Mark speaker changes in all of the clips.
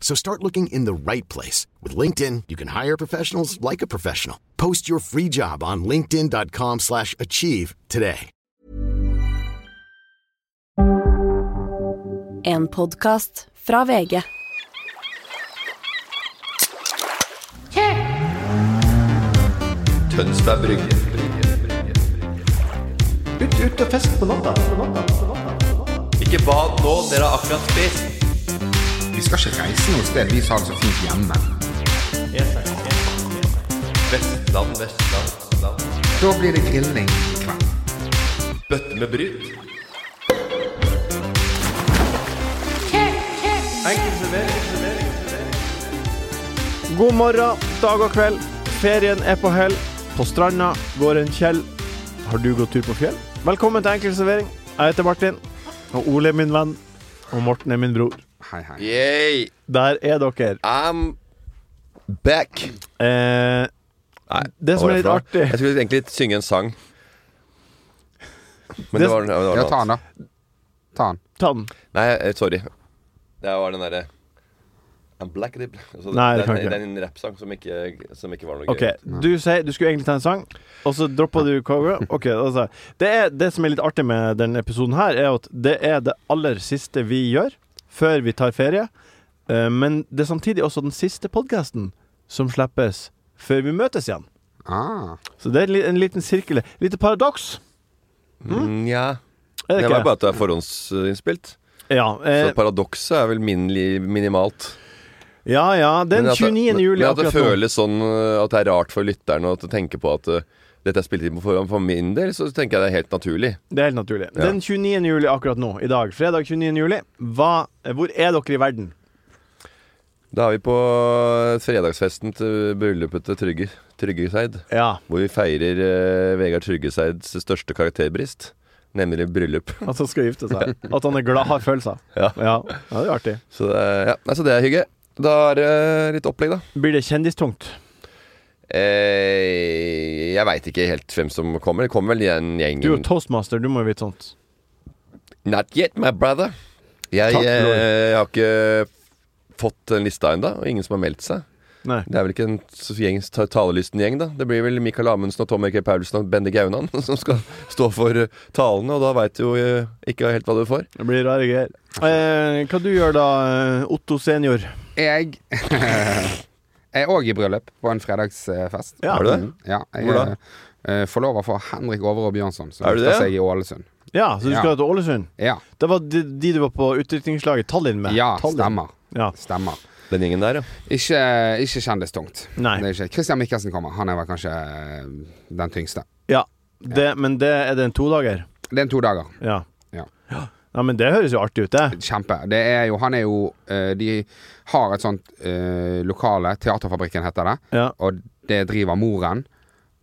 Speaker 1: So start looking in the right place. With LinkedIn, you can hire professionals like a professional. Post your free job on linkedin.com slash achieve today.
Speaker 2: En podcast fra VG.
Speaker 3: Tønsberg Brygge. Ut, ut og fest på natta. Ikke bad nå, dere har akkurat spist.
Speaker 4: Vi skal ikke reise noe sted vi har det så fint hjemme.
Speaker 3: Vestland, Vestland, Vestland.
Speaker 4: Da blir det grilling i kveld.
Speaker 3: Bøtte med bryt. Enkel servering, servering, servering.
Speaker 5: God morgen, dag og kveld. Ferien er på hell. På stranda går en Kjell. Har du gått tur på fjell? Velkommen til Enkel servering. Jeg heter Martin. Og Ole er min venn. Og Morten er min bror.
Speaker 4: Hei, hei.
Speaker 3: Yay,
Speaker 5: Der er dere.
Speaker 3: I'm back.
Speaker 5: Eh,
Speaker 3: Nei,
Speaker 5: Det som
Speaker 3: hva var
Speaker 5: er litt
Speaker 3: for noe?
Speaker 5: artig-
Speaker 3: Jeg skulle egentlig synge en sang. Men det,
Speaker 5: Det-
Speaker 3: var, det var
Speaker 4: Ja,
Speaker 3: noe
Speaker 4: ta
Speaker 3: annet.
Speaker 4: den, da. Ta den.
Speaker 5: ta den.
Speaker 3: Nei, eh, sorry. Det var den derre I'm black dip. Altså,
Speaker 5: Nei, det
Speaker 3: den,
Speaker 5: kan
Speaker 3: den,
Speaker 5: ikke.
Speaker 3: en rappsang som ikke, som ikke var noe
Speaker 5: Ok,
Speaker 3: gøy.
Speaker 5: Du sier du skulle egentlig ta en sang, og så droppa du cover. Ok, altså. det, er, det som er litt artig med denne episoden, her er at det er det aller siste vi gjør før vi tar ferie. Eh, Men det er samtidig også den siste podkasten som slippes før vi møtes igjen.
Speaker 4: Ah.
Speaker 5: Så det er en li- en liten sirkel. Lite paradoks,
Speaker 3: Mm, ja.
Speaker 5: er det
Speaker 3: Det
Speaker 5: ikke?
Speaker 3: var bare at det er forhåndsinnspilt.
Speaker 5: ja, eh,
Speaker 3: Så paradokset er vel minli- minimalt.
Speaker 5: eh, ja, ja. Den
Speaker 3: Men at det-
Speaker 5: 29.
Speaker 3: men-
Speaker 5: juli
Speaker 3: Men at det
Speaker 5: akkurat nå.
Speaker 3: føles sånn eh, at det er rart for lytterne å tenke på at eh, dette er spilt inn på forhånd. For min del så tenker jeg det er helt naturlig.
Speaker 5: Det er helt naturlig.
Speaker 3: Ja.
Speaker 5: Den 29. juli akkurat nå, i dag, fredag 29. juli, hva, eh, hvor er dere i verden?
Speaker 3: Da er vi på eh, fredagsfesten til bryllupet til Trygge, Tryggeseid.
Speaker 5: Ja,
Speaker 3: Hvor vi feirer eh, Vegard Tryggeseids største karakterbrist, nemlig bryllup.
Speaker 5: At han skal gifte seg. At han er glad, har følelser.
Speaker 3: Ja.
Speaker 5: Ja, ja det er artig.
Speaker 3: Så det er, ja. Nei, så det er hygge. Da er det eh, litt opplegg, da.
Speaker 5: Blir det kjendistungt?
Speaker 3: Eh, jeg veit ikke helt hvem som kommer. Det kommer vel igjen gjengen
Speaker 5: Du er jo toastmaster, du må jo vite sånt.
Speaker 3: Not yet, my brother. Jeg,
Speaker 5: Takk,
Speaker 3: eh,
Speaker 5: Lord.
Speaker 3: har ikke fått den lista ennå, og ingen som har meldt seg.
Speaker 5: Nei.
Speaker 3: Det er vel ikke en s- gjeng, ta- talelysten gjeng, da. Det blir vel Michael Amundsen og Tom Eike Paulsen og Bende Gaunan som skal stå for eh, talene, og da veit du jo eh, ikke helt hva du får.
Speaker 5: Det blir rare greier. Eh, hva du gjør da, eh, Otto senior?
Speaker 4: Jeg er òg i bryllup på en fredagsfest.
Speaker 5: Ja.
Speaker 3: Er du det?
Speaker 4: Mm, Ja, jeg
Speaker 3: Hvor da?
Speaker 4: er eh, forlover for Henrik Overå Bjørnson, som
Speaker 3: Er du
Speaker 4: gifter
Speaker 3: det?
Speaker 4: seg i Ålesund.
Speaker 5: Ja, så du skal
Speaker 4: Ja.
Speaker 5: til Ålesund?
Speaker 4: Ja,
Speaker 5: Det var de, de du var på utdrikningslaget Tallinn med?
Speaker 4: ja
Speaker 5: Tallinn.
Speaker 4: stemmer.
Speaker 5: Ja.
Speaker 4: Stemmer.
Speaker 3: Den gjengen der, ja.
Speaker 4: Ikke, ikke kjendistungt.
Speaker 5: Nei.
Speaker 4: Det er ikke. Christian Mikkelsen kommer. Han er vel kanskje eh, den tyngste.
Speaker 5: Ja. Det, men det er det en todager?
Speaker 4: Det er en to dager.
Speaker 5: Ja.
Speaker 4: Ja.
Speaker 5: Ja, men det høres jo artig ut, det.
Speaker 4: Kjempe. Det er jo, han er jo eh, De har et sånt eh, lokale, Teaterfabrikken heter det,
Speaker 5: Ja.
Speaker 4: og det driver moren.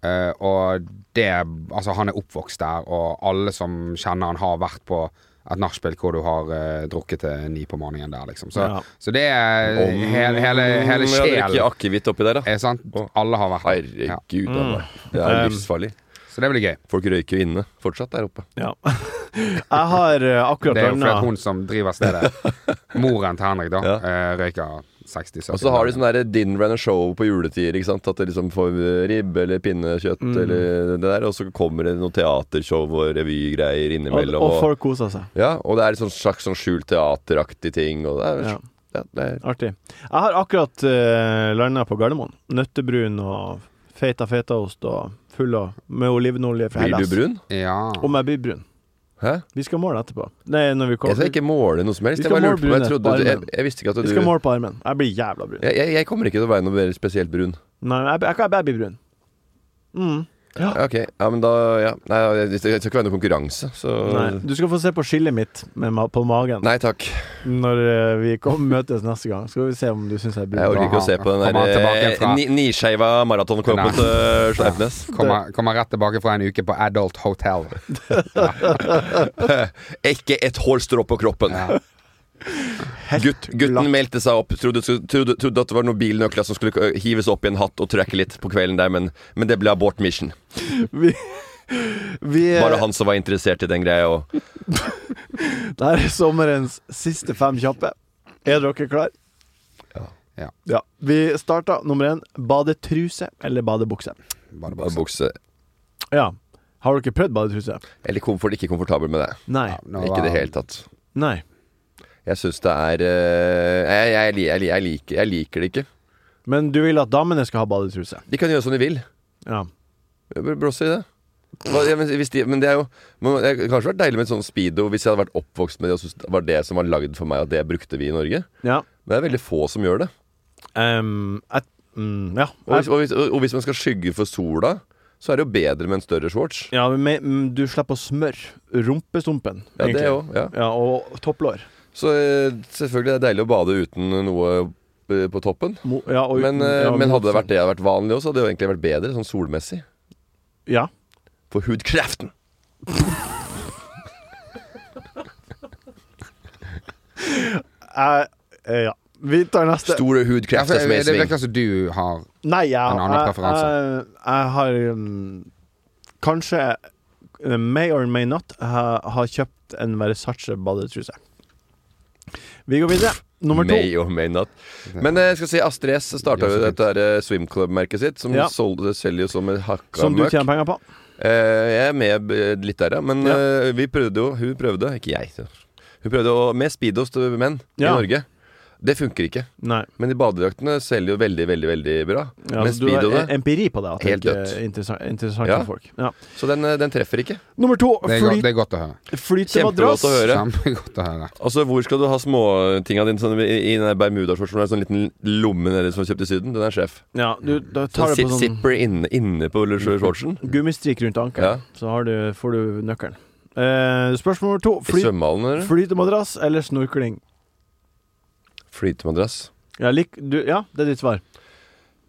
Speaker 4: Eh, og det Altså, han er oppvokst der, og alle som kjenner han, har vært på et nachspiel hvor du har eh, drukket til ni på morgenen der, liksom. Så,
Speaker 5: Ja.
Speaker 4: så det er Eh, hele, hele, hele
Speaker 3: Mm, Jeg drikker
Speaker 4: sjelen.
Speaker 3: akevitt oppi der, da.
Speaker 4: Er sant?
Speaker 3: Å.
Speaker 4: Alle har vært der. Ja. Mm.
Speaker 3: Herregud, da, meg. det er
Speaker 5: Um,
Speaker 3: livsfarlig.
Speaker 4: Så det blir gøy.
Speaker 3: Folk røyker jo inne fortsatt der oppe.
Speaker 5: Ja. Jeg har eh, akkurat
Speaker 4: Det er jo fordi
Speaker 5: landa
Speaker 4: at hun som driver stedet, moren til Henrik, da,
Speaker 3: Ja.
Speaker 4: eh, røyker 60-70
Speaker 3: Og så har de sånn der din runner show på juletider. ikke sant? At det liksom får ribbe eller pinnekjøtt
Speaker 5: Mm.
Speaker 3: eller det der. Og så kommer det noe teatershow og revygreier
Speaker 5: og,
Speaker 3: innimellom.
Speaker 5: og
Speaker 3: Og,
Speaker 5: folk koser seg.
Speaker 3: ja, og det er en sånn slags sånn skjult teateraktig ting. Og det er,
Speaker 5: Ja.
Speaker 3: ja. det er
Speaker 5: eh, Artig. Jeg har akkurat uh, landa på Gardermoen. Nøttebrun og feita fetaost og full av med olivenolje fra
Speaker 3: Blir
Speaker 5: Hellas.
Speaker 3: du brun?
Speaker 4: Ja.
Speaker 5: Om jeg blir brun.
Speaker 3: Hæ?
Speaker 5: Vi skal måle etterpå. Nei, når vi
Speaker 3: Jeg
Speaker 5: kommer.
Speaker 3: skal ikke måle noe som helst.
Speaker 5: Vi
Speaker 3: Jeg
Speaker 5: skal
Speaker 3: bare lurte på
Speaker 5: måle
Speaker 3: jeg,
Speaker 5: brunhet
Speaker 3: trodde,
Speaker 5: på
Speaker 3: du- jeg,
Speaker 5: armen.
Speaker 3: jeg visste ikke at
Speaker 5: Vi
Speaker 3: du
Speaker 5: skal
Speaker 3: jeg,
Speaker 5: måle på armen. Jeg blir jævla brun.
Speaker 3: jeg, jeg kommer ikke til å være noe mer spesielt brun.
Speaker 5: Nei, jeg, jeg, jeg, jeg blir brun. Mm.
Speaker 3: Ok, ja, men da ja. Nei, jeg, jeg skal ikke være noe konkurranse, så
Speaker 5: Nei. Du skal få se på skillet mitt med, ma- på magen
Speaker 3: Øh. Nei takk.
Speaker 5: når eh, vi kom, møtes neste gang. Skal vi se om du syns jeg
Speaker 3: Jeg
Speaker 5: er brun.
Speaker 3: orker ikke å se på den
Speaker 4: Kommer han
Speaker 3: der
Speaker 4: tilbake
Speaker 3: eh,
Speaker 4: fra-
Speaker 3: ni- niskeiva maratonklubben
Speaker 4: Nei.
Speaker 3: til Sleipnes.
Speaker 4: Kommer, kommer rett tilbake fra en uke på Adult Hotel.
Speaker 3: Ikke et hår strå på kroppen.
Speaker 4: Ja.
Speaker 3: Gutt, gutten meldte seg opp. Trodde, trodde, trodde at det var noen bilnøkler som skulle eh, hives opp i en hatt og trekke litt på kvelden der, men, men det ble abort mission.
Speaker 5: Vi, vi, eh,
Speaker 3: Bare han som var interessert i den greia. Og
Speaker 5: Det her er sommerens siste fem kjappe. Er dere klar?
Speaker 4: Ja.
Speaker 5: Ja. Vi starter nummer én. Badetruse eller badebukse?
Speaker 4: Bare
Speaker 3: bare
Speaker 4: bukse.
Speaker 3: bukse.
Speaker 5: Ja. Har dere prøvd badetruse?
Speaker 3: Eller komfort, ikke komfortabel med det.
Speaker 5: Nei.
Speaker 4: Ja, nå
Speaker 3: Ikke i
Speaker 4: var-
Speaker 3: det hele tatt.
Speaker 5: Nei.
Speaker 3: Jeg syns det er eh, jeg, jeg, li- jeg, li- jeg, liker, jeg liker det ikke.
Speaker 5: Men du vil at damene skal ha badetruse?
Speaker 3: De kan gjøre som de vil.
Speaker 5: Ja.
Speaker 3: Jeg Blåser i det. Hva, ja, men, hvis de, men det er jo men Det hadde kanskje vært deilig med en sånn speedo hvis jeg hadde vært oppvokst med det og syntes det var det som var lagd for meg, og det brukte vi i Norge.
Speaker 5: Ja.
Speaker 3: Men det er veldig få som gjør det.
Speaker 5: Ehm, et, mm, ja.
Speaker 3: Og hvis, og hvis, og hvis man skal skygge for sola, så er det jo bedre med en større shorts.
Speaker 5: ja men, men du slipper å smøre rumpestumpen.
Speaker 3: Ja, det
Speaker 5: egentlig.
Speaker 3: òg. Ja.
Speaker 5: Ja, og topplår.
Speaker 3: Så eh, selvfølgelig er det deilig å bade uten noe eh, på toppen.
Speaker 5: Mo, ja, og
Speaker 3: Men,
Speaker 5: uten-
Speaker 3: eh,
Speaker 5: ja,
Speaker 3: men hadde det vært det hadde vært vanlig også, hadde det jo egentlig vært bedre sånn solmessig.
Speaker 5: Ja.
Speaker 3: For hudkreften!
Speaker 5: Jeg- eh, ja. Vi tar neste.
Speaker 3: Store
Speaker 4: Ja, for eh,
Speaker 3: hudkrefter som er
Speaker 4: Det
Speaker 3: i sving.
Speaker 4: virker som du har
Speaker 5: Nei, jeg,
Speaker 4: En annen
Speaker 5: jeg-
Speaker 4: preferanse.
Speaker 5: Jeg, jeg har um, kanskje uh, may or may not ha, har kjøpt en Versace badetruse. Vi går videre. Nummer to.
Speaker 3: May or may not. Men eh, jeg skal si Astrid S starta jo
Speaker 4: Ja, så fint.
Speaker 3: dette her, eh, swim club-merket sitt, som
Speaker 5: Ja.
Speaker 3: sol- selger jo som en hakka
Speaker 5: Som du
Speaker 3: møkk.
Speaker 5: tjener penger på.
Speaker 3: Eh, jeg er med eh, litt der, ja. Men
Speaker 5: Ja.
Speaker 3: eh, vi prøvde jo Hun prøvde, ikke jeg. så. Hun prøvde å med speedos til menn i
Speaker 5: Ja.
Speaker 3: Norge. Det funker ikke.
Speaker 5: Nei.
Speaker 3: Men de badedraktene selger jo veldig, veldig veldig bra.
Speaker 5: Ja,
Speaker 3: Men
Speaker 5: så du har
Speaker 3: speedoene
Speaker 5: e- empiri på det. At
Speaker 3: Helt
Speaker 5: det ikke
Speaker 3: dødt.
Speaker 5: er interessant, interessant
Speaker 3: Ja.
Speaker 5: for folk. Ja.
Speaker 3: Så den, eh, den treffer ikke.
Speaker 5: Nummer to.
Speaker 4: Det er, godt, det
Speaker 5: Flyt,
Speaker 4: er godt å høre.
Speaker 3: Kjempegodt
Speaker 5: flytemadrass.
Speaker 3: å høre.
Speaker 4: Kjempegodt å høre.
Speaker 3: Altså, Hvor skal du ha småtinga dine sånn, i, i den der bermudashortsen med en sånn liten lomme nede som du kjøpte i Syden? Den er sjef.
Speaker 5: Ja, du da
Speaker 3: Så
Speaker 5: tar det
Speaker 3: zip-
Speaker 5: på sånn
Speaker 3: Zipper inne, inne på shortsen.
Speaker 5: gummistrik rundt
Speaker 3: Ja.
Speaker 5: ankelen, så har du, får du nøkkelen. Eh, spørsmål nummer to.
Speaker 3: I
Speaker 5: Flyt,
Speaker 3: svømmehallen, eller?
Speaker 5: flytemadrass eller snorkling?
Speaker 3: Flytemadrass.
Speaker 5: Ja, lik, du, ja, det er ditt svar.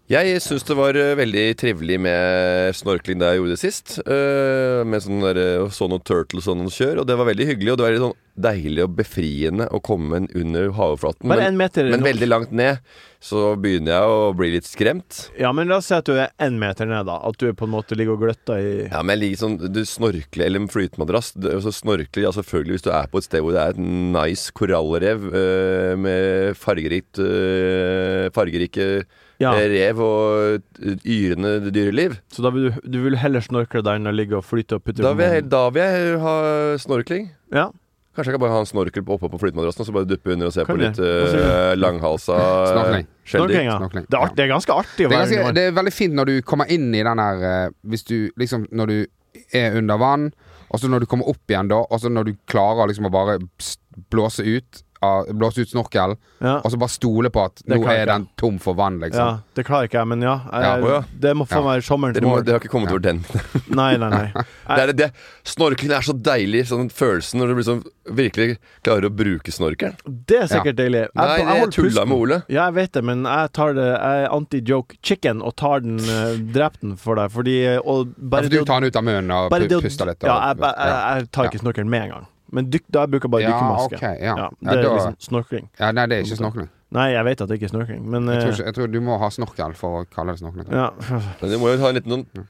Speaker 3: Jeg syns det var eh, veldig trivelig med snorkling da jeg gjorde det sist. eh, med sånn der, eh, så noen turtles og noen kjør, og det var veldig hyggelig. Og det var veldig sånn deilig og befriende å komme en under havoverflaten.
Speaker 5: Bare
Speaker 3: Men,
Speaker 5: en meter.
Speaker 3: men
Speaker 5: nok.
Speaker 3: veldig langt ned så begynner jeg å bli litt skremt.
Speaker 5: Ja, men la oss si at du er én meter ned, da. At du på en måte ligger og gløtter i
Speaker 3: Ja, men jeg liker sånn, Du snorkler eller en flytemadrass. Du- Så snorkler, ja selvfølgelig hvis du er på et sted hvor det er et nice korallrev eh, med fargerikt, eh, fargerike
Speaker 5: Ja,
Speaker 3: eh, rev og eh, yrende dyreliv.
Speaker 5: Så da vil du, du vil heller snorkle der enn å ligge og flyte og putte
Speaker 3: Da vil, jeg, da vil jeg ha snorkling.
Speaker 5: Ja.
Speaker 3: Kanskje jeg kan bare ha en snorkel på- oppå på flytemadrassen og så bare duppe under og se
Speaker 5: Kan
Speaker 3: på
Speaker 5: du?
Speaker 3: litt eh, langhalsa
Speaker 4: Snorkling.
Speaker 5: Snorkling,
Speaker 3: skjeldig.
Speaker 5: ja.
Speaker 4: Snorkling,
Speaker 5: Det er,
Speaker 4: ja.
Speaker 5: art, det er ganske
Speaker 4: Det
Speaker 5: artig å
Speaker 4: er,
Speaker 5: være
Speaker 4: ganske,
Speaker 5: under vann.
Speaker 4: det er veldig fint når du kommer inn i den der eh, Hvis du liksom Når du er under vann, og så når du kommer opp igjen da, og så når du klarer liksom å bare s- blåse ut av- Blåse ut snorkelen,
Speaker 5: Ja.
Speaker 4: og så bare stole på at
Speaker 5: Det
Speaker 4: nå
Speaker 5: klarer
Speaker 4: er
Speaker 5: ikke
Speaker 4: den tom for vann,
Speaker 5: ja,
Speaker 4: liksom.
Speaker 5: det klarer ikke jeg, men ja.
Speaker 4: Ja,
Speaker 5: Jeg,
Speaker 3: å ja.
Speaker 5: Det må faen
Speaker 4: Ja.
Speaker 5: være sommerens
Speaker 3: Dere, må,
Speaker 5: mål.
Speaker 3: dere har ikke kommet over den.
Speaker 5: Nei, nei, nei.
Speaker 3: Det er det. Snorkling er så deilig, sånn følelsen når du blir sånn, virkelig klarer å bruke snorkelen.
Speaker 5: Det er sikkert deilig. Jeg,
Speaker 3: Nei,
Speaker 5: jeg
Speaker 3: jeg
Speaker 5: holder
Speaker 3: tulla
Speaker 5: pusten.
Speaker 3: med Ole.
Speaker 5: Ja, jeg vet det, men jeg tar det Jeg er anti-joke chicken og tar den eh, Drep den for deg, fordi eh, og
Speaker 4: Ja,
Speaker 5: bare
Speaker 4: for du
Speaker 5: det å-
Speaker 4: tar den ut av munnen og
Speaker 5: bare
Speaker 4: pu-
Speaker 5: det å-
Speaker 4: puster litt. Og,
Speaker 5: Ja, jeg, jeg, jeg, jeg tar
Speaker 4: Ja.
Speaker 5: ikke snorkelen med en gang. Men dykk, da jeg bruker jeg bare
Speaker 4: ja,
Speaker 5: dykkermaske.
Speaker 4: ok, ja.
Speaker 5: Ja,
Speaker 4: Ja,
Speaker 5: det er
Speaker 4: da,
Speaker 5: liksom snorkling.
Speaker 4: ja, nei, det er ikke snorkling.
Speaker 5: Nei, jeg vet at det ikke er snorkling, men
Speaker 4: Jeg tror,
Speaker 5: eh,
Speaker 4: ikke, jeg tror du må ha snorkel for å kalle det snorkling.
Speaker 5: ja.
Speaker 3: Men du må jo ha en liten sånn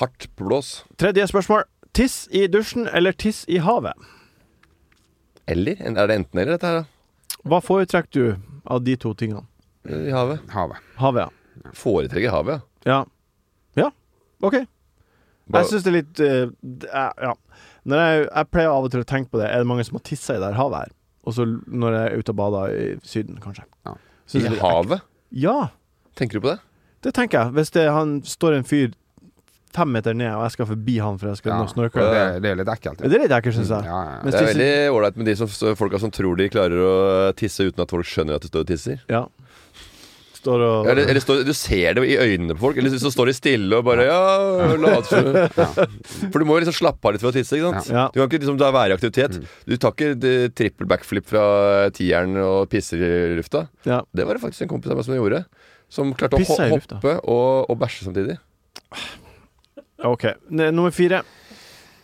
Speaker 3: hardt blås.
Speaker 5: Tredje spørsmål. Tiss i dusjen eller tiss i havet?
Speaker 3: Eller? Er det enten eller, dette her, da?
Speaker 5: Hva foretrekker du av de to tingene?
Speaker 3: I havet?
Speaker 4: Havet.
Speaker 5: Havet, ja.
Speaker 3: Foretrekker havet, ja.
Speaker 5: Ja. Ja, OK.
Speaker 3: Bare-
Speaker 5: Jeg syns det er litt eh, det er- Ja. Når jeg, jeg pleier av og til å tenke på det. Er det mange som har tissa i det her havet her? Og så l- når jeg er ute og bader i Syden, kanskje.
Speaker 4: Ja.
Speaker 5: Synes
Speaker 3: I
Speaker 5: jeg det-
Speaker 3: havet?
Speaker 5: Ja.
Speaker 3: Tenker du på det?
Speaker 5: Det tenker jeg. Hvis det, han står en fyr fem meter ned, og jeg skal forbi han for jeg skal nå snorke
Speaker 4: det, det er jo litt ekkelt.
Speaker 5: Det er litt ekkelt, syns jeg.
Speaker 4: Ja, ja.
Speaker 5: Men
Speaker 3: Det er
Speaker 5: stis-
Speaker 3: veldig ålreit med de som, folka som tror de klarer å eh, tisse uten at folk skjønner at du står og tisser.
Speaker 5: Ja. Står og
Speaker 3: Eller, eller står, du ser det i øynene på folk, eller så står de stille og bare Ja, lat som For du må jo liksom slappe av litt ved å tisse, ikke sant?
Speaker 5: Ja. Mm.
Speaker 3: Du kan ikke liksom da være i aktivitet. Du tar ikke eh, trippel backflip fra eh, tieren og pisser i lufta.
Speaker 5: ja.
Speaker 3: Det var det faktisk en kompis av meg som gjorde. Som klarte å ho
Speaker 5: Pissa i lufta.
Speaker 3: hoppe og, og bæsje samtidig.
Speaker 5: OK. N- Nummer fire.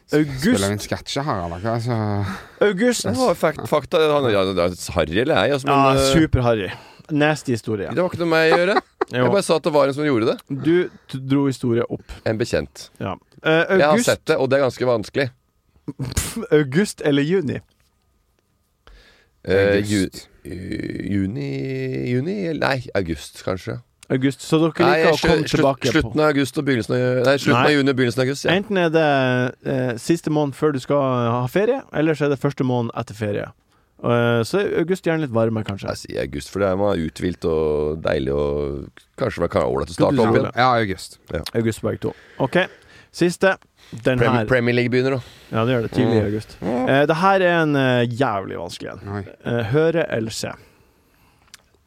Speaker 4: Spiller
Speaker 5: August.
Speaker 4: vi en sketsj her, eller? hva? Altså,
Speaker 5: August.
Speaker 3: Det var fakt, fakta. Han, ja, det er Harry eller jeg, altså, men
Speaker 5: Ja,
Speaker 3: eh,
Speaker 5: Super-harry. Nasty historie.
Speaker 3: det var ikke noe med meg å gjøre. Jeg
Speaker 5: Jo.
Speaker 3: bare sa at det var en som gjorde det.
Speaker 5: Du t- dro historie opp.
Speaker 3: En bekjent.
Speaker 5: Ja. Eh,
Speaker 3: Jeg har
Speaker 5: August,
Speaker 3: sett det, og det er ganske vanskelig.
Speaker 5: august eller juni?
Speaker 3: Eh, ju, eh,
Speaker 4: august.
Speaker 3: juni Juni? Nei, august, kanskje.
Speaker 5: August. Så dere
Speaker 3: Nei,
Speaker 5: liker å
Speaker 3: slu-
Speaker 5: komme
Speaker 3: slutt-
Speaker 5: tilbake
Speaker 3: slutten av august og begynnelsen av Nei, slutten
Speaker 5: Nei.
Speaker 3: av juni og begynnelsen av august.
Speaker 5: på
Speaker 3: Ja.
Speaker 5: Enten er det eh, siste måned før du skal ha ferie, eller så er det første måned etter ferie. Eh, så er august gjerne litt varmere, kanskje.
Speaker 3: Jeg sier august, for det er man er uthvilt og deilig og Kanskje man kan ha ålreit å
Speaker 5: Skal du
Speaker 3: starte opp
Speaker 5: si
Speaker 3: igjen.
Speaker 5: det?
Speaker 4: Ja, august.
Speaker 5: August begge to. OK, siste. Den
Speaker 3: Premier,
Speaker 5: her.
Speaker 3: Premier League begynner, da.
Speaker 5: Ja, det gjør det tidlig i august. Uh, det her er en eh, jævlig vanskelig en.
Speaker 4: Oi.
Speaker 5: Eh, høre eller se?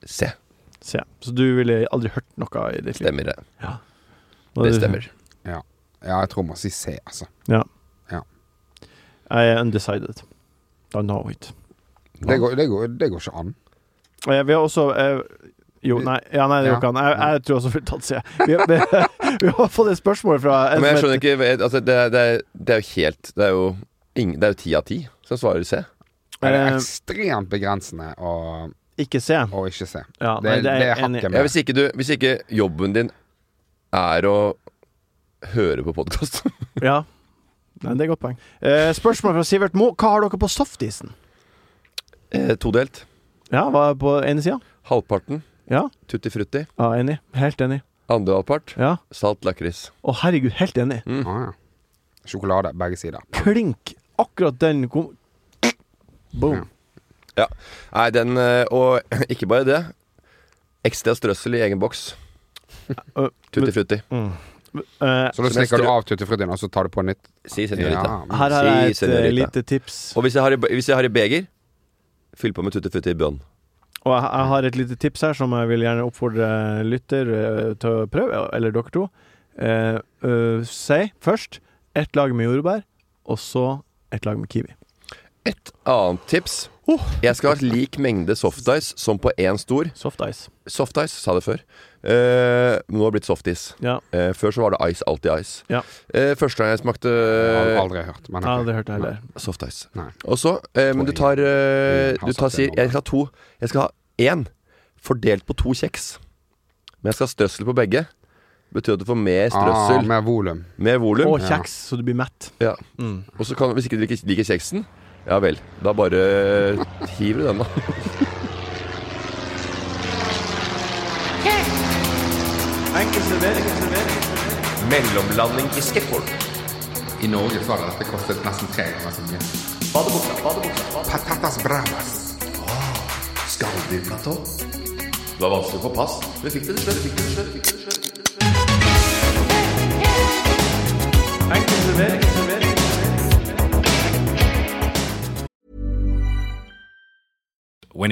Speaker 3: Se,
Speaker 5: Se. Så du ville aldri hørt noe i ditt liv?
Speaker 3: stemmer det.
Speaker 5: Hva
Speaker 3: Det
Speaker 5: du-
Speaker 3: stemmer.
Speaker 4: Ja, jeg tror man sier C, altså.
Speaker 5: Jeg er undecided. I know it.
Speaker 4: Det går, det går, det går ikke an.
Speaker 5: Eh, Vi har også eh, Jo, nei, ja, nei
Speaker 4: Ja.
Speaker 5: det går ikke an. Jeg, jeg tror også vi har tatt C. Vi, har- vi, vi har fått et spørsmål fra en
Speaker 3: Men jeg
Speaker 5: som
Speaker 3: skjønner
Speaker 5: heter-
Speaker 3: ikke altså, det, er- det, er- det er jo helt Det er jo ingen, Det er jo ti av ti som svarer C.
Speaker 4: Det er
Speaker 5: Eh,
Speaker 4: ekstremt begrensende å,
Speaker 5: Ikke C.
Speaker 4: å ikke se.
Speaker 5: Ja,
Speaker 4: Det,
Speaker 5: nei,
Speaker 4: det
Speaker 5: jeg
Speaker 4: er
Speaker 5: enig i.
Speaker 4: hakket
Speaker 3: Ja,
Speaker 4: med.
Speaker 3: hvis, ikke du, hvis ikke jobben din er å høre på podkast
Speaker 5: Ja. Nei, det er et godt poeng. Eh, spørsmål fra Sivert Mo Hva har dere på softisen?
Speaker 3: eh, Todelt.
Speaker 5: Ja, hva er på ene sida?
Speaker 3: Halvparten
Speaker 5: Ja.
Speaker 3: tutti frutti.
Speaker 5: ja, enig. Helt enig.
Speaker 3: Andre halvpart
Speaker 5: Ja.
Speaker 3: salt lakris.
Speaker 5: Å, herregud, helt enig.
Speaker 4: Ah, ja. Sjokolade, begge sider.
Speaker 5: Klink. Akkurat den kom Boom.
Speaker 3: Nei, den eh, Og ikke bare det. Ekstra strøssel i egen boks.
Speaker 5: Eh,
Speaker 3: Tutti frutti.
Speaker 5: Eh,
Speaker 4: Så da
Speaker 3: Som jeg
Speaker 4: slikker du
Speaker 3: stru-
Speaker 4: av tuttifruttien, og så tar du på nytt?
Speaker 3: Si senorita.
Speaker 4: Ja,
Speaker 5: her har jeg et
Speaker 3: Si, senorita.
Speaker 5: eh, lite tips.
Speaker 3: Og hvis jeg har i, hvis jeg har i beger, fyll på med tutti frutti i bønn.
Speaker 5: Og jeg, jeg har et lite tips her som jeg vil gjerne oppfordre lytter eh, til å prøve, eller dere to. Eh, eh, si først ett lag med jordbær, og så ett lag med kiwi.
Speaker 3: Et annet tips.
Speaker 5: Oh.
Speaker 3: Jeg skal ha lik mengde softice som på én stor.
Speaker 5: Soft ice.
Speaker 3: Softice, sa det før. Eh, nå har det blitt softis.
Speaker 5: Ja,
Speaker 3: Eh, før så var det ice, alltid ice.
Speaker 5: Ja.
Speaker 3: Eh, første gang jeg smakte
Speaker 4: Jeg har
Speaker 3: eh,
Speaker 4: aldri hørt. Men
Speaker 5: ja det hørte jeg heller.
Speaker 3: softice.
Speaker 4: Nei.
Speaker 3: Og så eh, Men du tar, eh,
Speaker 4: Har
Speaker 3: du tar
Speaker 4: sagt
Speaker 3: sier,
Speaker 4: det nå,
Speaker 3: Jeg skal ha to. Jeg skal ha én fordelt på to kjeks. Men jeg skal ha strøssel på begge. Betyr at du får mer
Speaker 4: Ah,
Speaker 3: strøssel,
Speaker 4: med volum.
Speaker 3: mer volum.
Speaker 5: Og kjeks, så du blir mett.
Speaker 3: Ja.
Speaker 5: Mm.
Speaker 3: Og så kan, hvis ikke du ikke liker kjeksen, ja vel, da bare eh, hiver du den, da. Mellomlanding i skateboard.
Speaker 4: I Norge så hadde dette kostet nesten tre ganger så mye. Patatas bravas.
Speaker 6: Skalldyrblatå.
Speaker 3: Det var vanskelig å få pass. Vi fikk det til slutt.
Speaker 7: when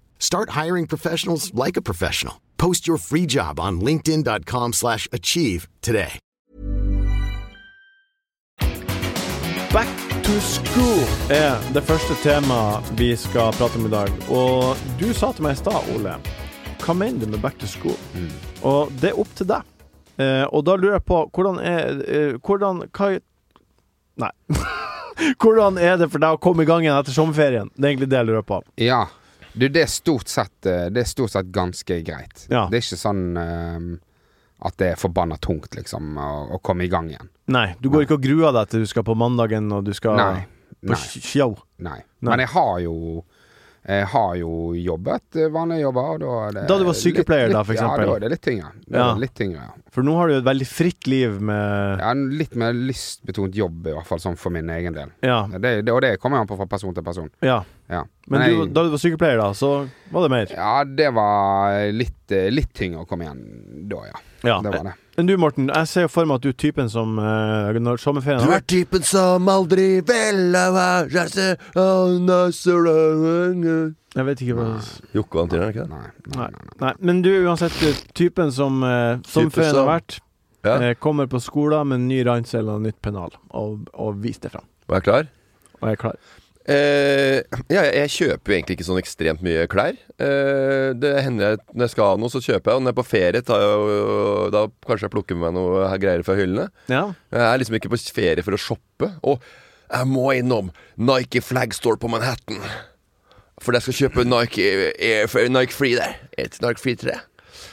Speaker 1: Start hiring professionals like a professional. Post your free job on linkedin.com/achieve slash achieve today.
Speaker 5: Back to school er det første temaet vi skal prate om i dag. Og du sa til meg i stad, Ole, hva mener du med back to school?
Speaker 4: Mm.
Speaker 5: Og det er opp til deg. Eh, og da lurer jeg på hvordan er eh, Hvordan hva, Nei. hvordan er det for deg å komme i gang igjen etter sommerferien? Det er egentlig det jeg lurer på.
Speaker 4: Ja. Du, det er stort sett eh, Det er stort sett ganske greit.
Speaker 5: Ja.
Speaker 4: Det er ikke sånn eh, at det er forbanna tungt, liksom, å, å komme i gang igjen.
Speaker 5: Nei, du går ikke og gruer deg til du skal på mandagen og du skal
Speaker 4: Nei.
Speaker 5: på
Speaker 4: Nei.
Speaker 5: show.
Speaker 4: Nei.
Speaker 5: Nei.
Speaker 4: Men jeg har jo jeg har jo jobbet eh, vanlige jobber. Og da, er det
Speaker 5: Da du var sykepleier,
Speaker 4: litt,
Speaker 5: da, for eksempel.
Speaker 4: Ja, da er det litt tyngre. Da
Speaker 5: Ja.
Speaker 4: er det litt tyngre ja.
Speaker 5: For nå har du jo et veldig fritt liv med
Speaker 4: Jeg har en litt mer lystbetont jobb, i hvert fall sånn for min egen del.
Speaker 5: Ja.
Speaker 4: Det, det, og det kommer an på fra person til person.
Speaker 5: ja.
Speaker 4: Ja.
Speaker 5: Men
Speaker 4: jeg-
Speaker 5: du, da du var sykepleier, da, så var det mer.
Speaker 4: Ja, det var litt, eh, litt tyngre å komme igjen da, ja.
Speaker 5: Ja. Eh,
Speaker 4: Det var det.
Speaker 5: Men du, Morten, jeg ser jo for meg at du er typen som eh, Når sommerferien har vært
Speaker 1: typen som aldri vil ha kjæreste
Speaker 5: Jeg vet ikke hva
Speaker 3: Jokke og Antina, er det ikke det?
Speaker 4: Nei,
Speaker 5: Nei.
Speaker 4: nei, nei, nei.
Speaker 5: Nei, men du er uansett typen som eh, sommerferien har
Speaker 3: som-
Speaker 5: vært.
Speaker 3: Ja.
Speaker 5: eh, kommer på skolen med en ny ransel og nytt pennal, og, og viser det fram.
Speaker 3: Var jeg klar?
Speaker 5: Og jeg er klar.
Speaker 3: Eh, ja, jeg kjøper jo egentlig ikke sånn ekstremt mye klær. Eh, det hender jeg når jeg skal ha noe, så kjøper jeg. Og når jeg er på ferie, tar jeg, jo- da kanskje jeg plukker med meg noe her greier fra hyllene.
Speaker 5: Ja.
Speaker 3: Jeg er liksom ikke på ferie for å shoppe. Og jeg må innom Nike Flagstore på Manhattan. For jeg skal kjøpe Nike, Air, Nike Free der. Et Nike Free 3.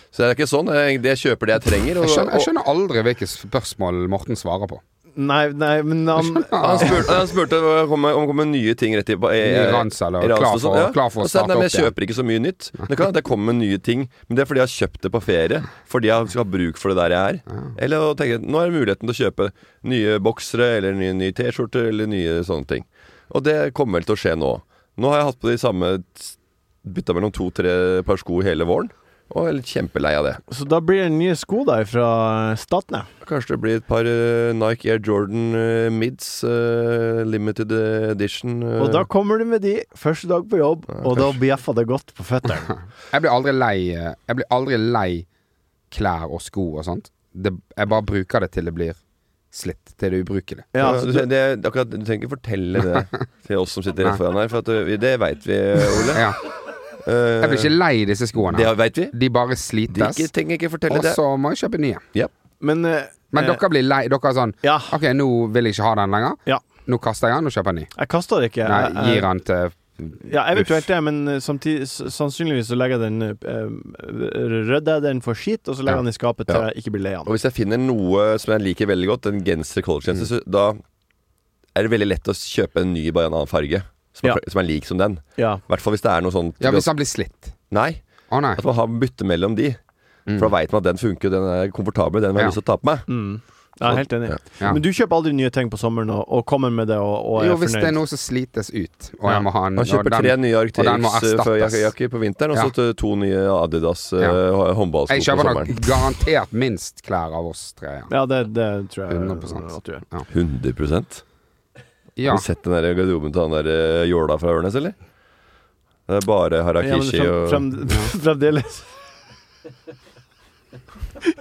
Speaker 3: Så det er ikke sånn. Jeg, jeg kjøper det jeg trenger.
Speaker 4: Jeg
Speaker 3: Og,
Speaker 4: skjønner, jeg
Speaker 3: og,
Speaker 4: skjønner aldri hvilke spørsmål Morten svarer på.
Speaker 5: Nei, nei, men han,
Speaker 3: han spurte, han spurte om det kom, om det kom nye ting rett i ba- i-
Speaker 4: Ny ransel og
Speaker 3: i ransen
Speaker 4: klar
Speaker 3: og
Speaker 4: for-
Speaker 3: sånn, ja.
Speaker 4: klar for å
Speaker 3: Og så er det,
Speaker 4: starte
Speaker 3: nei, men
Speaker 4: opp
Speaker 3: Jeg
Speaker 4: igjen.
Speaker 3: kjøper ikke så mye nytt. Det kan hende det kommer nye ting, men det er fordi jeg har kjøpt det på ferie. Fordi jeg skal ha bruk for det der jeg er. Eller å tenke, nå er det muligheten til å kjøpe nye boksere eller nye, nye T-skjorter eller nye sånne ting. Og det kommer vel til å skje nå. Nå har jeg hatt på de samme Bytta mellom to-tre par sko hele våren. Og jeg er litt kjempelei av det.
Speaker 5: så da blir det nye sko der fra eh, Statne.
Speaker 3: Kanskje det blir et par eh, Nike Air Jordan eh, Mids eh, limited eh, edition. eh.
Speaker 5: Og da kommer du med de første dag på jobb, og da bjeffer det godt på føttene.
Speaker 4: Jeg blir aldri lei, eh, jeg blir aldri lei klær og sko og sånt. Det, jeg bare bruker det til det blir slitt. Til altså, det er ubrukelig.
Speaker 5: Ja,
Speaker 3: Ja,
Speaker 5: så
Speaker 3: du,
Speaker 5: du,
Speaker 3: det, det- akkurat, du trenger ikke fortelle det til oss som sitter rett foran her, for at eh, vi, det veit vi, Ole.
Speaker 4: Ja.
Speaker 3: Eh,
Speaker 4: Jeg blir ikke lei disse skoene.
Speaker 3: det veit vi.
Speaker 4: De bare
Speaker 3: De
Speaker 4: slites,
Speaker 3: ikke, trenger ikke fortelle
Speaker 4: og
Speaker 3: det.
Speaker 4: så må jeg kjøpe nye.
Speaker 3: Ja.
Speaker 5: men eh,
Speaker 4: Men
Speaker 5: eh,
Speaker 4: dere blir lei. Dere er sånn
Speaker 5: Ja.
Speaker 4: OK, nå vil jeg ikke ha den lenger.
Speaker 5: Ja. eh,
Speaker 4: Nå kaster jeg den og kjøper en ny.
Speaker 5: Jeg kaster det ikke.
Speaker 4: Nei,
Speaker 5: Jeg- jeg-
Speaker 4: gir den til
Speaker 5: Ja, eventuelt det, men eh, samtidig, s- sannsynligvis så legger jeg den eh, Rydder jeg den for skit, og så legger jeg
Speaker 4: Ja.
Speaker 5: den i skapet til jeg ikke blir lei av
Speaker 3: Og
Speaker 5: den.
Speaker 3: hvis jeg finner noe som jeg liker veldig godt, en genser collegetjeneste,
Speaker 4: Mm.
Speaker 3: så da er det veldig lett å kjøpe en ny, bare en annen farge, som,
Speaker 5: Ja.
Speaker 3: er, som er lik som den.
Speaker 5: Ja.
Speaker 3: I hvert fall hvis det er noe sånt
Speaker 4: Ja, hvis den blir slitt.
Speaker 3: Nei,
Speaker 4: Å nei. Mm.
Speaker 3: at man har bytte mellom de. For da veit man at den funker, den er komfortabel, den har jeg
Speaker 4: Ja. Mm,
Speaker 3: lyst til å ta på meg.
Speaker 5: Jeg er Mm. helt enig.
Speaker 4: Ja.
Speaker 5: Men du kjøper aldri nye ting på sommeren og, og kommer med det og, og er
Speaker 4: Jo, hvis
Speaker 5: fornøyd?
Speaker 4: det er noe som slites ut, og
Speaker 5: Ja.
Speaker 4: jeg må ha en
Speaker 3: Han kjøper
Speaker 4: og den-
Speaker 3: tre nye
Speaker 4: og den må
Speaker 3: Arcteryx eh,
Speaker 4: erstattes.
Speaker 3: jakker på vinteren, og så t- to nye Adidas eh, håndballsko
Speaker 4: Jeg
Speaker 3: på
Speaker 4: kjøper nok
Speaker 3: sommeren.
Speaker 4: garantert minst klær av oss tre. Ja.
Speaker 5: Ja, det, det tror jeg
Speaker 4: 100%.
Speaker 5: at du gjør.
Speaker 3: 100 Har
Speaker 4: Ja.
Speaker 3: du sett den der garderoben til han der eh, jåla fra Ørnes, eller? Det er bare
Speaker 5: Ja, men
Speaker 3: harakishi
Speaker 5: frem, frem, fremdeles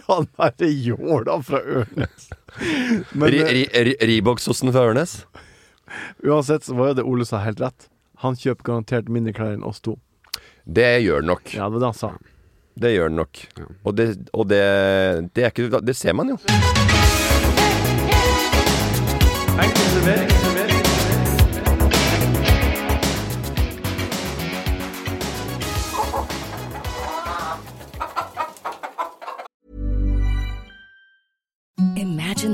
Speaker 5: Han er i jåla fra Ørnes.
Speaker 3: og
Speaker 5: Men
Speaker 3: Ri-
Speaker 5: eh,
Speaker 3: ri- ri- Ribox-osten fra Ørnes?
Speaker 5: uansett så var jo det Ole sa helt rett. Han kjøper garantert mindre klær enn oss to.
Speaker 3: Det gjør den nok.
Speaker 5: Ja, det var det han sa.
Speaker 3: Det gjør den nok. Og, det, og det, det er ikke Det ser man jo.
Speaker 6: Imagine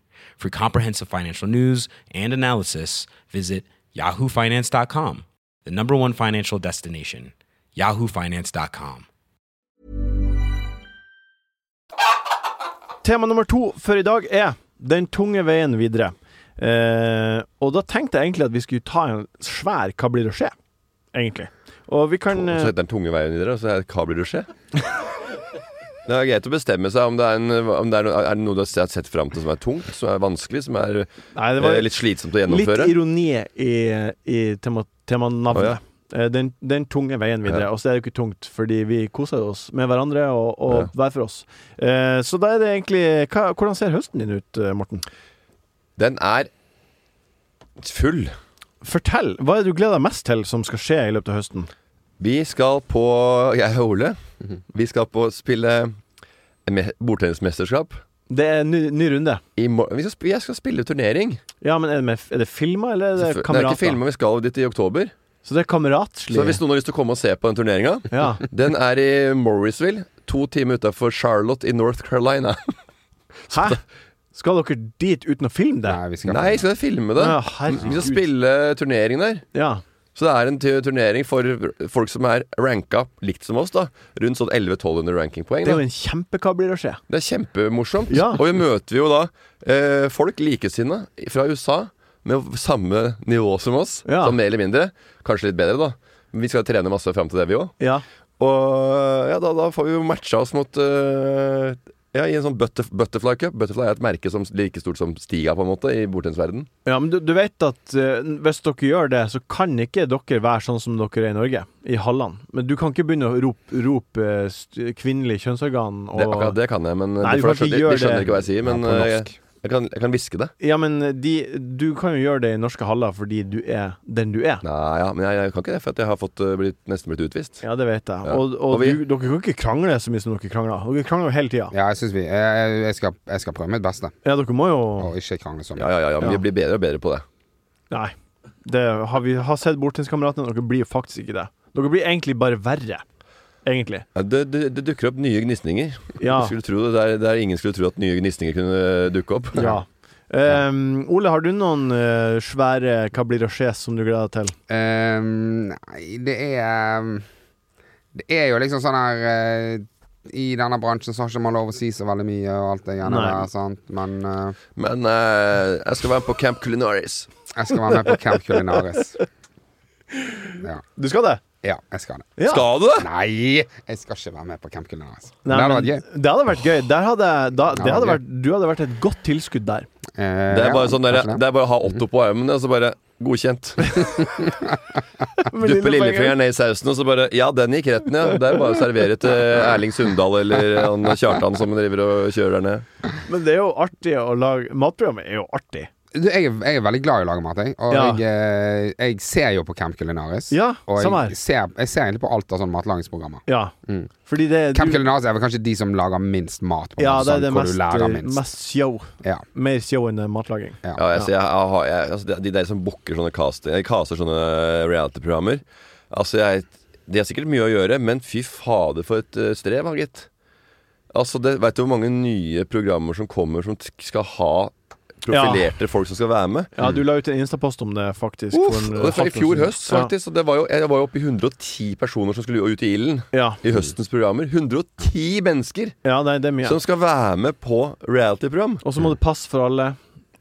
Speaker 7: For comprehensive financial news and analysis, visit yahoofinance.com, the number one financial destination, yahoofinance.com.
Speaker 5: Tema nummer to for i dag er den tunge veien videre. Eh, og da tenkte jeg egentlig at vi skulle ta en svær Hva blir det å skje? Egentlig. Og vi kan
Speaker 3: Og så
Speaker 5: eh,
Speaker 3: heter den tunge veien videre, og så er det hva blir det å skje? Det er greit å bestemme seg om det er, en, om det er, noe, er det noe du har sett sett fram til som er tungt, som er vanskelig, som er
Speaker 4: altså,
Speaker 5: Nei, det
Speaker 3: eh,
Speaker 5: var
Speaker 3: litt slitsomt å
Speaker 5: litt
Speaker 3: gjennomføre.
Speaker 5: ironi i, i tema, temanavnet.
Speaker 3: Å, ja.
Speaker 5: Eh, den, den tunge veien videre.
Speaker 3: Ja.
Speaker 5: Og så er det jo ikke tungt, fordi vi koser oss med hverandre og, og
Speaker 3: Ja.
Speaker 5: hver for oss. Eh, så da er det egentlig hva, Hvordan ser høsten din ut, eh, Morten?
Speaker 3: Den er full.
Speaker 5: Fortell. Hva er det du gleder deg mest til som skal skje i løpet av høsten?
Speaker 3: Vi skal på Jeg og Ole.
Speaker 5: Mhm.
Speaker 3: Vi skal på å spille en me- bordtennismesterskap.
Speaker 5: Det er en ny, ny runde.
Speaker 3: I mor- vi skal, sp- jeg skal spille turnering.
Speaker 5: Ja, men er det, med, er det filmer, eller
Speaker 3: Det
Speaker 5: er
Speaker 3: er
Speaker 5: det
Speaker 3: ikke
Speaker 5: kamerater?
Speaker 3: filma, vi skal dit i oktober.
Speaker 5: så det er kameratslig.
Speaker 3: Så hvis noen har lyst til å komme og se på den turneringa
Speaker 5: ja.
Speaker 3: Den er i Morrisville, to timer utafor Charlotte i North Carolina.
Speaker 5: Hæ? Skal dere dit uten å filme det?
Speaker 4: Nei, vi skal
Speaker 3: Nei, skal jeg filme det?
Speaker 5: Ja,
Speaker 3: Vi
Speaker 5: herregud.
Speaker 3: skal spille turnering der.
Speaker 5: Ja.
Speaker 3: Så det er en tu- turnering for folk som er ranka likt som oss, da. Rundt sånn 1100-1200 rankingpoeng.
Speaker 5: Det er
Speaker 3: Da.
Speaker 5: jo en kjempehva blir det å skje?
Speaker 3: Det er kjempemorsomt.
Speaker 5: Ja.
Speaker 3: Og vi møter jo da eh, folk likesinna fra USA med samme nivå som oss.
Speaker 5: Ja.
Speaker 3: Sånn mer eller mindre. Kanskje litt bedre, da. Men Vi skal trene masse fram til det, vi òg.
Speaker 5: Ja.
Speaker 3: Og ja, da, da får vi jo matcha oss mot eh, Ja, i en sånn butter, butterfly cup. Butterfly er et merke som like stort som Stiga, på en måte, i bordtennisverdenen.
Speaker 5: ja, men du, du vet at eh, hvis dere gjør det, så kan ikke dere være sånn som dere er i Norge, i hallene. Men du kan ikke begynne å rope rop, kvinnelig kjønnsorgan og
Speaker 3: Det, akkurat det kan jeg, men
Speaker 5: Nei, du
Speaker 3: for
Speaker 5: kan ikke
Speaker 3: de, de
Speaker 5: gjøre
Speaker 3: skjønner
Speaker 5: det.
Speaker 3: ikke hva jeg sier. Men
Speaker 4: på
Speaker 3: eh,
Speaker 4: norsk.
Speaker 3: jeg, jeg kan- jeg kan hviske det.
Speaker 5: Ja, men de, du kan jo gjøre det i norske haller fordi du er den du er.
Speaker 3: Nei, ja, men jeg, jeg kan ikke det, for at jeg har fått, eh, blitt, nesten blitt utvist.
Speaker 5: Ja, det vet jeg.
Speaker 3: Ja.
Speaker 5: Og, og,
Speaker 3: Og vi-
Speaker 5: du, dere kan ikke krangle så mye som dere krangler. Dere krangler jo hele tida. Ja.
Speaker 4: Ja, jeg syns vi jeg, jeg, jeg, skal, jeg skal prøve mitt beste
Speaker 5: dere må jo
Speaker 4: og ikke krangle så
Speaker 3: Ja,
Speaker 4: mye.
Speaker 3: ja, ja, ja, men
Speaker 5: Ja.
Speaker 3: vi blir bedre og bedre på det.
Speaker 5: Nei. Det har vi har sett bortenskameratene, og dere blir jo faktisk ikke det. Dere blir egentlig bare verre. Egentlig.
Speaker 3: Ja, det, det, det dukker opp nye gnisninger.
Speaker 5: Ja.
Speaker 3: Du Skulle tro det, der, der ingen skulle tro at nye gnisninger kunne dukke opp.
Speaker 5: Ja. Ehm, Ole, har du noen eh, svære hva blir det å skje som du gleder deg til?
Speaker 4: Ehm, nei, det er ehm, Det er jo liksom sånn her eh, I denne bransjen så har ikke man lov å si så veldig mye og alt det greiene
Speaker 5: Nei.
Speaker 4: der, sant, men eh,
Speaker 3: Men eh, jeg skal være med på Camp Culinaris.
Speaker 4: jeg skal være med på Camp Culinaris. Ja.
Speaker 5: Du skal det?
Speaker 4: ja, jeg skal det.
Speaker 5: Ja.
Speaker 3: Skal du det?!
Speaker 4: Nei, jeg skal ikke være med på Camp Culinaris.
Speaker 5: Nei,
Speaker 4: det hadde
Speaker 5: men
Speaker 4: vært gøy.
Speaker 5: det hadde vært gøy. Der hadde, jeg- da, det
Speaker 4: Ja,
Speaker 5: hadde
Speaker 4: gøy.
Speaker 5: vært, du hadde vært et godt tilskudd der.
Speaker 4: Eh,
Speaker 3: Det er bare
Speaker 4: ja,
Speaker 3: sånn der,
Speaker 4: kanskje
Speaker 3: det er bare å ha Otto på armen, og så bare Godkjent.
Speaker 5: Men
Speaker 3: Duppe
Speaker 5: dine
Speaker 3: lillefingeren ned i sausen, og så bare Ja, den gikk retten, ja. Det er bare å servere til Erling Sundal eller han Kjartan som driver og kjører der nede.
Speaker 5: penger- Men det er jo artig å lage Matprogrammet er jo artig.
Speaker 4: Du, jeg, er, jeg er veldig glad i å lage mat, jeg. Og
Speaker 5: Ja.
Speaker 4: jeg, eh, jeg ser jo på Camp Culinaris.
Speaker 5: Ja,
Speaker 4: og
Speaker 5: samme her.
Speaker 4: jeg ser, jeg ser egentlig på alt av sånne matlagingsprogrammer. Mm.
Speaker 5: Ja. Fordi det
Speaker 4: Camp
Speaker 5: du,
Speaker 4: Culinaris er vel kanskje de som lager minst mat, på en
Speaker 5: Ja,
Speaker 4: måte,
Speaker 5: det er
Speaker 4: sånn,
Speaker 5: det
Speaker 4: hvor
Speaker 5: mest,
Speaker 4: du lærer
Speaker 5: eh,
Speaker 4: minst.
Speaker 5: mest show.
Speaker 4: Ja.
Speaker 5: Mer show enn eh, matlaging.
Speaker 3: Ja, jeg, ser- jeg, har- jeg, altså, de- De der som booker sånne casting eh, caster sånne reality-programmer Altså jeg De har sikkert mye å gjøre, men fy fader for et eh, strev, ha, gitt. Altså, det, Vet du hvor mange nye programmer som kommer som t- skal ha profilerte folk som skal være med?
Speaker 5: Ja, du la ut en instapost om det, faktisk.
Speaker 3: Mm. Uff,
Speaker 5: for en,
Speaker 3: og det var I
Speaker 5: eh, halvt år
Speaker 3: fjor
Speaker 5: siden.
Speaker 3: høst, faktisk. Og det var jo, jeg var jo oppe i 110 personer som skulle ut i ilden.
Speaker 5: Ja.
Speaker 3: I høstens programmer. 110 mennesker
Speaker 5: ja. ja nei, det er mye.
Speaker 3: som skal være med på reality-program.
Speaker 5: Og så må det passe for alle.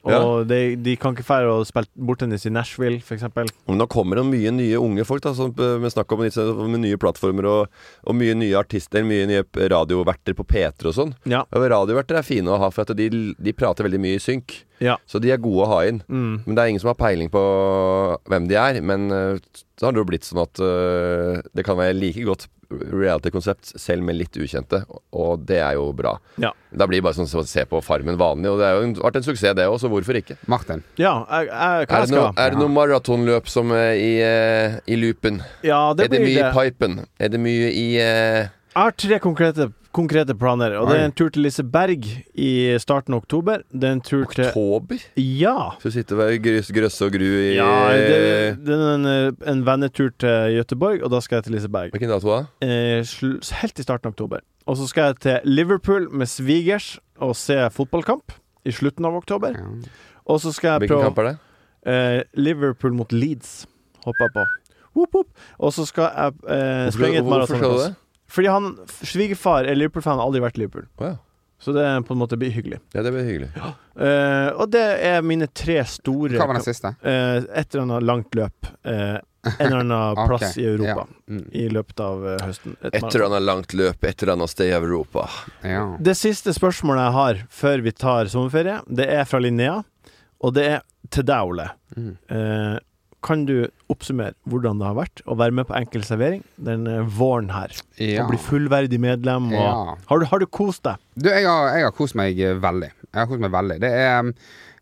Speaker 5: Og
Speaker 3: Ja.
Speaker 5: de, de kan ikke feire å spille bortennis i Nashville, f.eks.
Speaker 3: Men nå kommer det mye nye unge folk, da, som, eh, med snakk om disse, med nye plattformer og, og mye nye artister, mye nye p- radioverter på P3 og sånn.
Speaker 5: Ja.
Speaker 3: Og Radioverter er fine å ha, for at de, de prater veldig mye i synk.
Speaker 5: ja.
Speaker 3: Så de er gode å ha inn.
Speaker 5: Mm.
Speaker 3: Men det er ingen som har peiling på hvem de er. Men eh, så har det jo blitt sånn at eh, det kan være like godt reality-konsept selv med litt ukjente, og det er jo bra.
Speaker 5: Ja.
Speaker 3: Da blir det bare sånn som å se på Farmen vanlig, og det har jo en- vært en suksess det òg, så hvorfor ikke?
Speaker 4: Martin.
Speaker 5: Ja, jeg, jeg,
Speaker 3: Er
Speaker 5: hva jeg
Speaker 3: det
Speaker 5: skal
Speaker 3: noe, er det noe maratonløp som eh, i, eh, i loopen?
Speaker 5: Ja, det
Speaker 3: er det
Speaker 5: blir
Speaker 3: mye
Speaker 5: det.
Speaker 3: i pipen? Er det mye i eh,
Speaker 5: Jeg har tre konkrete konkrete planer. Og det er en tur til Liseberg i starten av oktober. Det er en tur til
Speaker 3: Oktober?
Speaker 5: Ja.
Speaker 3: Så sitter vi og grøs- grøsse og gru i
Speaker 5: ja det, det er en, eh, en vennetur til Gøteborg, og da skal jeg til Liseberg.
Speaker 3: Hvilken dato da?
Speaker 5: Eh, sl- helt i starten av oktober. Og så skal jeg til Liverpool med svigers og se fotballkamp i slutten av oktober.
Speaker 4: Ja.
Speaker 5: Og så skal jeg
Speaker 3: Hvilken
Speaker 5: prøve
Speaker 3: kamp er det?
Speaker 5: Eh, Liverpool mot Leeds hopper jeg på. Whoop, whoop. Og så skal jeg eh,
Speaker 3: Hvorfor,
Speaker 5: springe et
Speaker 3: hvorfor skal du
Speaker 5: maratonpass.
Speaker 3: det?
Speaker 5: Fordi han, svigerfar er Liverpool-fan, har aldri vært i Liverpool.
Speaker 3: Å ja.
Speaker 5: Så det er på en måte blir hyggelig.
Speaker 3: ja, det blir hyggelig.
Speaker 5: Eh, og det er mine tre store
Speaker 4: Hva var den siste?
Speaker 5: Eh, Et eller annet langt løp. Eh, en eller annen
Speaker 4: Ok,
Speaker 5: plass i Europa
Speaker 4: ja. Mm.
Speaker 5: i løpet av eh, høsten. Et
Speaker 3: Et eller annet langt løp et eller annet sted i Europa.
Speaker 4: Ja.
Speaker 5: Det siste spørsmålet jeg har før vi tar sommerferie, det er fra Linnea, og det er til deg, Ole.
Speaker 4: Mm.
Speaker 5: Eh, kan du oppsummere hvordan det har vært å være med på enkel servering den eh, våren her?
Speaker 4: Ja.
Speaker 5: Å bli fullverdig medlem og
Speaker 4: Ja.
Speaker 5: har, du, har du kost deg?
Speaker 4: Du, jeg har, jeg har kost meg eh, veldig. Jeg har kost meg veldig. Det er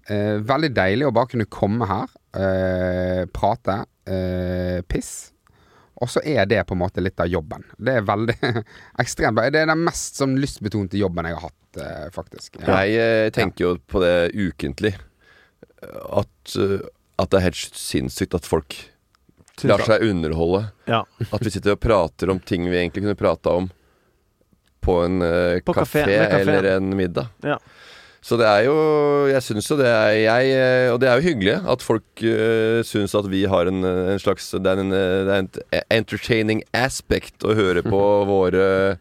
Speaker 4: eh, veldig deilig å bare kunne komme her, eh, prate, eh, piss. Og så er det på en måte litt av jobben. Det er veldig ekstremt bra. Det er den mest sånn lystbetonte jobben jeg har hatt, eh, faktisk. Ja.
Speaker 3: Jeg eh, tenker jo på det ukentlig. At, eh, at det er helt sinnssykt at folk lar seg underholde.
Speaker 5: Ja.
Speaker 3: At vi sitter og prater om ting vi egentlig kunne prata om på en eh,
Speaker 5: På
Speaker 3: kafé,
Speaker 5: kafé- med kafé.
Speaker 3: eller en middag.
Speaker 5: Ja.
Speaker 3: Så det er jo Jeg syns jo det er jeg, eh, Og det er jo hyggelig at folk uh, syns at vi har en, eh, en slags Det er en, eh, det er en entertaining aspect å høre på våre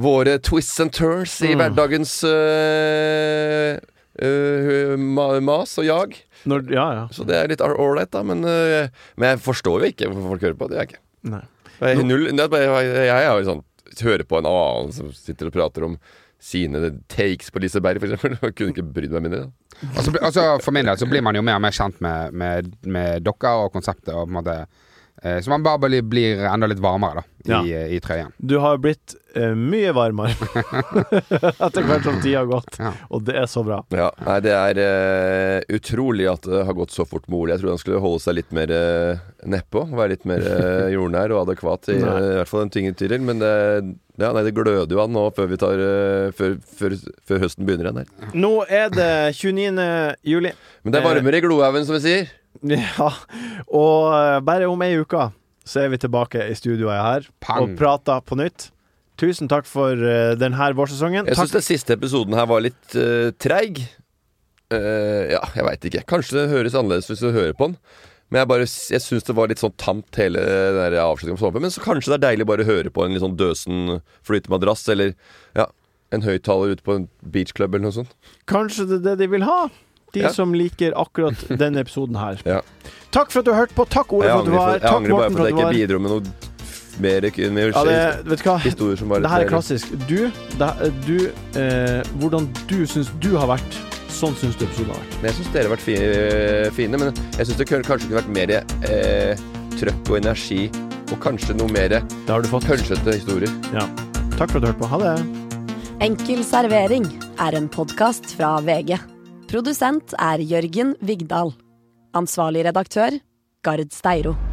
Speaker 3: Våre twists and turns i hverdagens eh, eh, ma- mas og jag.
Speaker 5: Når, ja, ja.
Speaker 3: Så det er litt ålreit, da. Men, eh, men jeg forstår jo ikke hvorfor folk hører på. Det gjør jeg ikke.
Speaker 5: Nei.
Speaker 3: Jeg, er null, det er bare- jeg, jeg er jo sånn Hører på en annen som sitter og prater om sine takes på Liseberg, for eksempel. Jeg kunne ikke brydd meg mindre.
Speaker 4: Og så bli- og så for min del så blir man jo mer og mer kjent med, med, med dere og konseptet. Og på en måte, eh, så man bare blir, blir enda litt varmere da, i,
Speaker 5: Ja.
Speaker 4: eh, i trøyen.
Speaker 5: Du har blitt eh, mye varmere etter hvert som tida har gått,
Speaker 4: Ja.
Speaker 5: og det er så bra.
Speaker 3: Ja, nei, det er eh, utrolig at det har gått så fort med Ole. Jeg trodde han skulle holde seg litt mer uh, nedpå. Være litt mer eh, jordnær og adekvat, i,
Speaker 5: Nei.
Speaker 3: eh, i hvert fall den tingen tyrer. Men det, ja, nei, det gløder jo han nå før, vi tar, eh, før, før, før høsten begynner igjen. her.
Speaker 5: Nå er det 29. juli.
Speaker 3: Men det er varmere i glohaugen, som vi sier.
Speaker 5: Ja, og eh, bare om ei uke så er vi tilbake i studioet her
Speaker 4: Pang.
Speaker 5: og prater på nytt. Tusen takk for eh, denne vårsesongen.
Speaker 3: Jeg syns
Speaker 5: Takk.
Speaker 3: den siste episoden her var litt eh, treig. Eh, ja, jeg veit ikke. Kanskje det høres annerledes hvis du hører på den. Men jeg, bare s- jeg syns det var litt sånn tamt, hele den der avslutningen på sommerferien. Men så kanskje det er deilig bare å høre på en litt sånn døsen flytemadrass, eller ja, en høyttaler ute på en beachclub eller noe sånt.
Speaker 5: Kanskje det er det de vil ha, de
Speaker 3: Ja.
Speaker 5: som liker akkurat denne episoden her.
Speaker 3: Ja.
Speaker 5: Takk for at du hørte på. Takk, Ole,
Speaker 3: Jeg angrer,
Speaker 5: for at du
Speaker 3: for,
Speaker 5: var her.
Speaker 3: jeg
Speaker 5: Takk,
Speaker 3: angrer bare for
Speaker 5: Morten,
Speaker 3: at
Speaker 5: for at
Speaker 3: jeg
Speaker 5: du
Speaker 3: ikke
Speaker 5: var her.
Speaker 3: bidro med noe mer, mer
Speaker 5: Ja, det, vet du hva?
Speaker 3: historier som bare
Speaker 5: Det her er klassisk. Du, det, du eh, Hvordan du syns du har vært, sånn syns du episoden har vært.
Speaker 3: Men jeg syns dere har vært fi- fine, men jeg syns det kunne- kanskje kunne vært mer eh, trøkk og energi, og kanskje noe mer
Speaker 5: Det har du fått.
Speaker 3: pølsete historier.
Speaker 5: Ja. Takk for at du hørte på. Ha det.
Speaker 2: Enkel servering er en podkast fra VG. Produsent er Jørgen Vigdal. Ansvarlig redaktør, Gard Steiro.